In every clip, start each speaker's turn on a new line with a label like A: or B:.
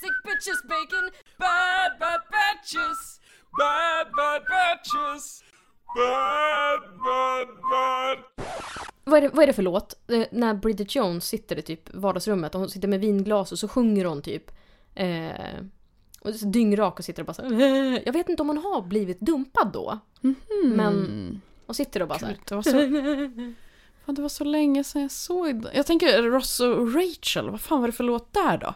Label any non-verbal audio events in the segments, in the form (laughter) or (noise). A: sandwiches, bacon, bad, bad batches.
B: Bad, bad batches. Bad, bad, bad.
C: Vad är, det, vad är det för låt? Eh, när Bridget Jones sitter i typ vardagsrummet och hon sitter med vinglas och så sjunger hon typ eh, och så dyngrak och sitter och bara så här, "Eh." Jag vet inte om hon har blivit dumpad då. Men- Och sitter och bara så här.
D: Gud, det, var så, fan, det var så länge sedan jag såg det. Jag tänker Ross och Rachel, vad fan var det för låt där då?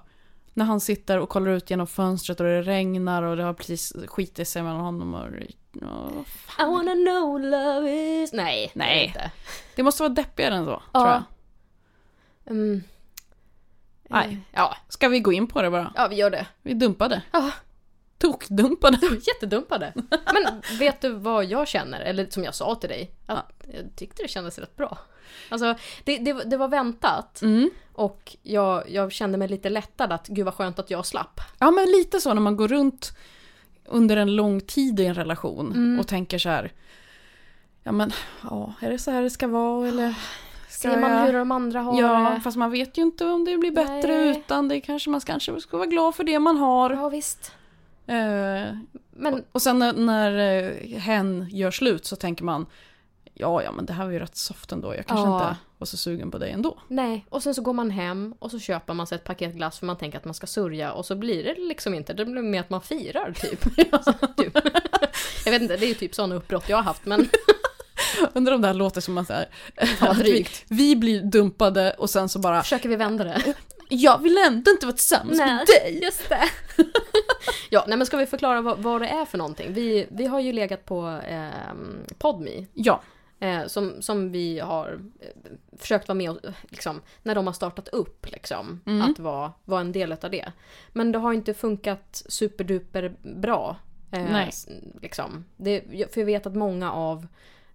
D: När han sitter och kollar ut genom fönstret och det regnar och det har precis skitit sig mellan honom och Rachel. Ja,
C: I wanna know love is... Nej, det är
D: Nej.
C: inte.
D: Det måste vara deppigare än så,
C: Ja.
D: tror jag.
C: Mm.
D: Nej.
C: Eh, Ja,
D: Ska vi gå in på det bara?
C: ja vi gör det. (laughs)
D: Vi dumpade.
C: Ja. (laughs)
D: Tokdumpade.
C: Jättedumpade. Men vet du vad jag känner? Eller som jag sa till dig. Att Jag tyckte det kändes rätt bra. Alltså, det, det, det var väntat.
D: Mm.
C: Och jag, jag kände mig lite lättad att gud vad skönt att jag slapp.
D: Ja, men lite så när man går runt under en lång tid i en relation
C: Mm.
D: och tänker så här. Ja, men ja, är det så här det ska vara eller? Ska
C: Ser man
D: jag-
C: hur de andra har eh,
D: Ja,
C: det?
D: fast man vet ju inte om det blir bättre
C: Nej.
D: utan det kanske man kanske ska vara glad för det man har.
C: Ja, visst.
D: Eh,
C: Men
D: och sen när, när eh, hen gör slut så tänker man Ja, ja, men det här var ju rätt soft ändå. Jag kanske
C: Ja.
D: inte var så sugen på dig ändå. (laughs)
C: nej. Och sen så går man hem och så köper man sig ett paket glass för man tänker att man ska sörja och så blir det liksom inte. Det blir mer att man
D: (laughs)
C: firar typ. Alltså, typ. Jag vet inte, det är ju typ sådana uppbrott jag har haft men
D: Undrar om det här låter som att, så här, (laughs)
C: vad
D: att vi,
C: drygt.
D: vi blir dumpade och sen så bara
C: försöker vi vända det.
D: Jag vill ändå inte vara tillsammans med dig.
C: just det. (laughs) ja, nej men ska vi förklara vad, vad det är för någonting? Vi, vi har ju legat på eh, Podme
D: Ja,
C: eh, som, som vi har eh, försökt vara med och, eh, liksom, när de har startat upp, liksom,
D: Mm.
C: att vara, vara en del av det. Men det har inte funkat superduper bra. eh,
D: Nej.
C: s- Liksom. Det, jag- för jag vet att många av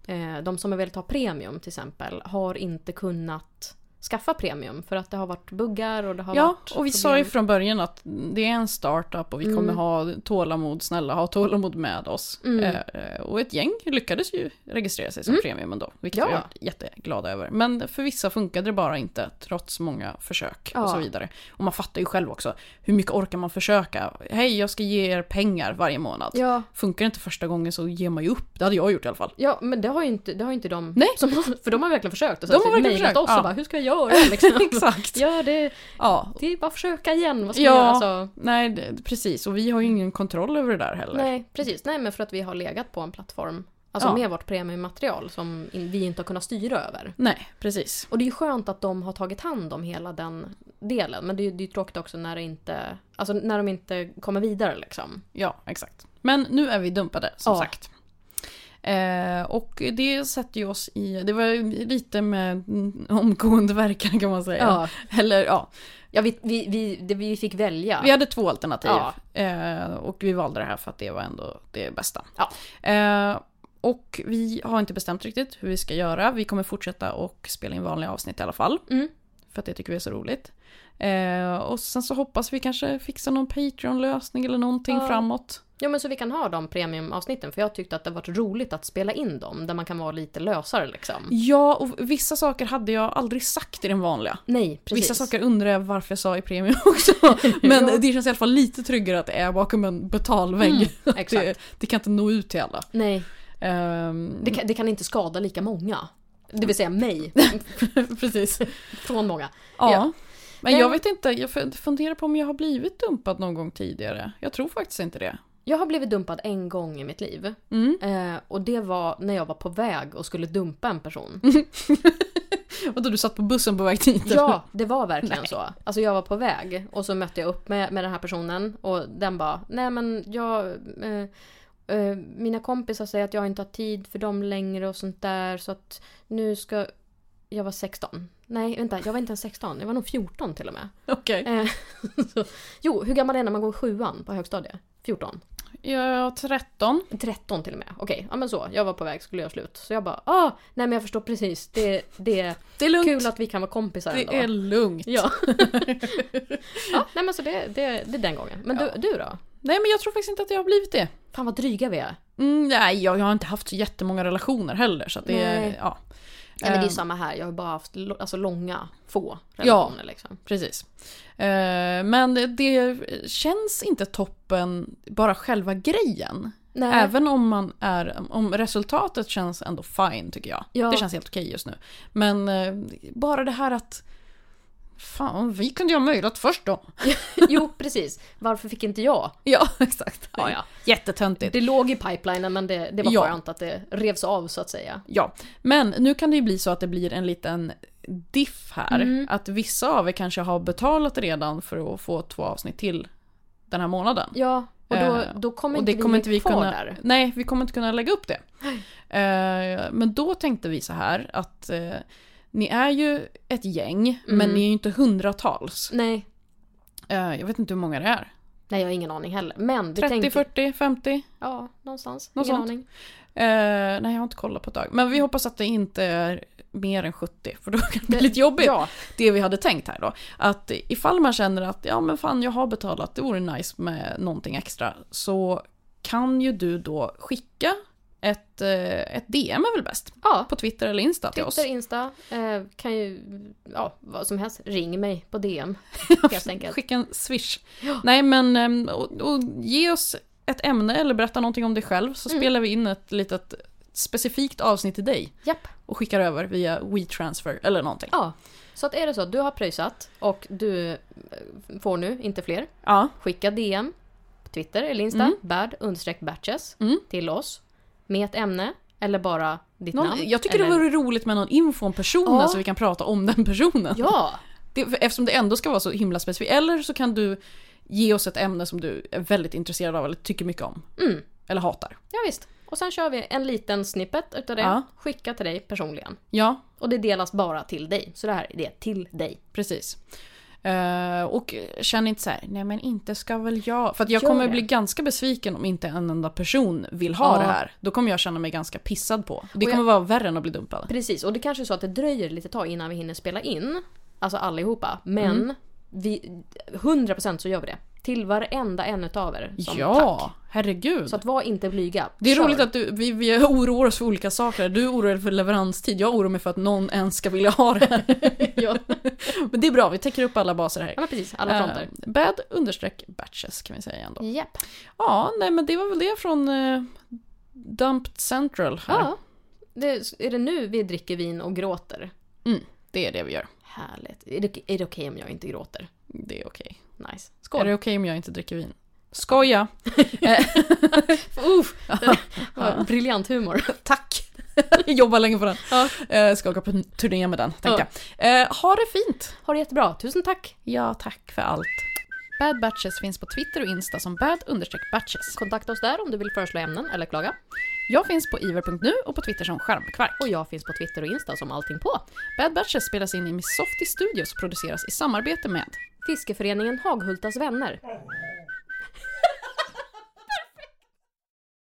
C: eh, de som har velat ha premium till exempel har inte kunnat skaffa premium för att det har varit buggar och det har
D: ja
C: varit
D: och vi sa ju från början att det är en startup och vi
C: Mm.
D: kommer ha tålamod, snälla ha tålamod med oss.
C: Mm.
D: Eh, eh, och ett gäng lyckades ju registrera sig som premium ändå, vilket
C: Ja.
D: vi är jätteglada över. Men för vissa funkade det bara inte, trots många försök
C: Ja.
D: och så vidare. Och man fattar ju själv också, hur mycket orkar man försöka? Hej, jag ska ge er pengar varje månad.
C: Ja,
D: Funkar det inte första gången så ger man ju upp, det hade jag gjort i alla
C: (laughs)
D: fall.
C: ja men det har ju inte, det har ju inte de
D: Nej.
C: som För de har verkligen försökt. Och
D: De har verkligen
C: mejlat
D: försökt,
C: oss och
D: ja.
C: bara hur ska jag göra (laughs) liksom.
D: (laughs) Exakt.
C: Ja, det,
D: Ja,
C: det är bara att försöka igen. Vad ska
D: Ja.
C: jag göra? Alltså,
D: Nej, det- precis. Och vi har ju ingen kontroll över det där heller.
C: nej, precis. Nej, men för att vi har legat på en plattform. Alltså
D: Ja.
C: med vårt premiummaterial som in, vi inte har kunnat styra över.
D: Nej, precis.
C: Och det är ju skönt att de har tagit hand om hela den delen. Men det är ju det är ju tråkigt också när, det inte, alltså när de inte kommer vidare liksom.
D: Ja, exakt. Men nu är vi dumpade, som
C: Ja.
D: sagt. Eh, och det sätter ju oss i... Det var ju lite med (laughs) mm, omgående verkan kan man säga. Eller ja,
C: ja vi, vi, vi, det, vi fick välja.
D: vi hade två alternativ.
C: Ja.
D: Eh, och vi valde det här för att det var ändå det bästa.
C: Ja.
D: Eh, och vi har inte bestämt riktigt hur vi ska göra. Vi kommer fortsätta och spela in vanliga avsnitt i alla fall.
C: Mm.
D: För att det tycker vi är så roligt. Eh, och sen så hoppas vi kanske fixa någon Patreon-lösning eller någonting
C: Ja.
D: framåt.
C: Ja men så vi kan ha de premiumavsnitten för jag tyckte att det varit roligt att spela in dem där man kan vara lite lösare liksom.
D: Ja, och vissa saker hade jag aldrig sagt i den vanliga.
C: Nej, precis.
D: Vissa
C: (laughs)
D: saker undrar jag varför jag sa i premium också. Men
C: Ja.
D: det känns i alla fall lite tryggare att det är bakom en betalvägg.
C: Mm,
D: Att
C: exakt.
D: det, det kan inte nå ut till alla.
C: Nej,
D: Ehm,
C: det kan, det kan inte skada lika många. Det vill säga mig,
D: precis.
C: från många.
D: Ja.
C: Ja.
D: Men
C: Nej.
D: jag vet inte, jag fun- funderar på om jag har blivit dumpad någon gång tidigare. Jag tror faktiskt inte det.
C: Jag har blivit dumpad en gång i mitt liv.
D: Mm.
C: Eh, och det var när jag var på väg och skulle dumpa en person.
D: Och då du satt på bussen på väg dit?
C: Ja, det var verkligen så. Alltså jag var på väg och så mötte jag upp med, med den här personen och den bara, nej men jag... Eh, eh, mina kompisar säger att jag inte har tid för dem längre och sånt där så att nu ska... Jag var 16. Nej, vänta, jag var inte ens 16. Jag var nog 14 till och med.
D: (laughs) Okej.
C: Eh, så, jo, hur gammal är jag när man går i sjuan på högstadiet? 14?
D: Jag är 13.
C: 13 till och med. Okej, ja men så. Jag var på väg, skulle göra slut. Så jag bara, ah, nej men jag förstår precis. Det, det är
D: Det är (laughs) lugnt.
C: kul att vi kan vara kompisar ändå.
D: det är lugnt.
C: Ja. ja, nej men så det, det, det är den gången. Men
D: Ja.
C: du, du då?
D: Nej men jag tror faktiskt inte att jag har blivit det.
C: Fan vad dryga vi är.
D: Mm, nej, jag, jag har inte haft så jättemånga relationer heller. Så att det,
C: Nej.
D: ja.
C: Nej men det är
D: Ehm,
C: samma här, jag har bara haft lo- alltså, långa, få
D: Ja.
C: relationer liksom.
D: precis. Eh, Men det känns inte toppen, bara själva grejen.
C: Nej.
D: Även om man är, om resultatet känns ändå fine tycker jag.
C: Ja.
D: Det känns helt okej just nu. Men eh, bara det här att, fan vi kunde ju ha mejlat först då.
C: Jo, precis. Varför fick
D: (laughs)
C: inte jag?
D: Ja, exakt.
C: Ja, (laughs) ja.
D: Jättetöntigt.
C: Det låg i pipelinen men det, det var
D: Ja.
C: skönt att det revs av så att säga.
D: Ja, men nu kan det ju bli så att det blir en liten diff här. Att vissa av er kanske har betalat redan för att få två avsnitt till den här månaden.
C: Ja, och då,
D: Eh,
C: då kommer
D: och
C: inte
D: det
C: vi
D: kommer inte vi
C: kvar
D: kunna,
C: där.
D: Nej, vi kommer inte kunna lägga upp det. Eh, men då tänkte vi så här att eh, ni är ju ett gäng, men ni är ju inte hundratals.
C: Nej.
D: Eh, jag vet inte hur många det är.
C: Nej, jag har ingen aning heller. Men vi
D: 30,
C: tänker...
D: 40, 50?
C: Ja, någonstans.
D: Något
C: ingen
D: sånt.
C: aning.
D: Eh, nej, jag har inte kollat på ett tag. Men vi hoppas att det inte är mer än 70, för då kan det bli lite jobbigt.
C: Ja.
D: Det vi hade tänkt här då. Att ifall man känner att ja men fan jag har betalat, det vore nice med någonting extra. Så kan ju du då skicka ett, eh, ett DM är väl bäst?
C: Ja.
D: På Twitter eller Insta till oss.
C: Twitter, Insta, eh, kan ju, ja vad som helst, ring mig
D: (laughs)
C: på DM helt enkelt.
D: Skicka en swish. Nej men ehm, och, och ge oss ett ämne eller berätta någonting om dig själv
C: Mm.
D: så spelar vi in ett litet specifikt avsnitt till dig
C: Japp.
D: och skickar över via WeTransfer eller någonting.
C: Ja. Så att är det så att du har pröjsat och du eh, får nu inte fler,
D: Ja.
C: skicka DM på Twitter eller Insta,
D: Mm.
C: bad understreck batches
D: Mm.
C: till oss med ett ämne eller bara ditt
D: Någon,
C: namn.
D: jag tycker
C: eller...
D: det vore roligt med någon info om personen
C: Ja.
D: så vi kan prata om den personen.
C: Ja!
D: Det, för- eftersom det ändå ska vara så himla specifikt. Eller så kan du ge oss ett ämne som du är väldigt intresserad av eller tycker mycket om.
C: Mm.
D: Eller hatar.
C: Ja, visst. Och sen kör vi en liten snippet utav det.
D: Ja.
C: Skicka till dig personligen.
D: Ja,
C: Och det delas bara till dig. Så det här det är till dig.
D: precis. Eh, och känn inte så här, nej men inte ska väl jag. För att jag
C: Gör
D: kommer
C: det.
D: bli ganska besviken om inte en enda person vill ha
C: Ja.
D: det här. Då kommer jag känna mig ganska pissad på. Det
C: jag-
D: kommer vara värre än att bli dumpad.
C: Precis, och det kanske är så att det dröjer lite tag innan vi hinner spela in. Alltså allihopa. Men vi, 100% så gör vi det. Till varenda en utav er. Som
D: Ja,
C: Tack.
D: herregud.
C: Så att var inte blyga.
D: Det är
C: Kör.
D: roligt att du, vi, vi oroar oss för olika saker. Du oroar dig för leveranstid, jag oroar mig för att någon ens ska vilja ha det (laughs) här.
C: Ja.
D: Men det är bra, vi täcker upp alla baser här.
C: Ja men precis, alla fronter.
D: Eh, bad understreck batches kan vi säga igen då.
C: Äh. Japp.
D: Ja, nej men det var väl det från eh, Dumped Central här.
C: Ja. Det, är det nu vi dricker vin och gråter?
D: Mm, det är det vi gör.
C: Härligt. Är det, är det okej om jag inte gråter?
D: Det är okej.
C: Nice.
D: Är
C: Skål!
D: det okej om jag inte dricker vin? Skoja! (laughs) Eh,
C: Uff! (laughs) Vad Briljant (laughs) humor.
D: Tack! Jobba länge på den.
C: Ja.
D: Eh, ska åka på en turné med den, tänkte jag. Eh, ha det fint!
C: Ha det jättebra. Tusen tack!
D: Ja, tack för allt. Bad Batches finns på Twitter och Insta som bad-batches.
C: Kontakta oss där om du vill föreslå ämnen eller klaga.
D: Jag finns på iver.nu och på Twitter som skärmkvark.
C: Och jag finns på Twitter och Insta som allting på.
D: Bad Batches spelas in i Missofty Studios och produceras i samarbete med
C: Fiskeföreningen Haghultas vänner.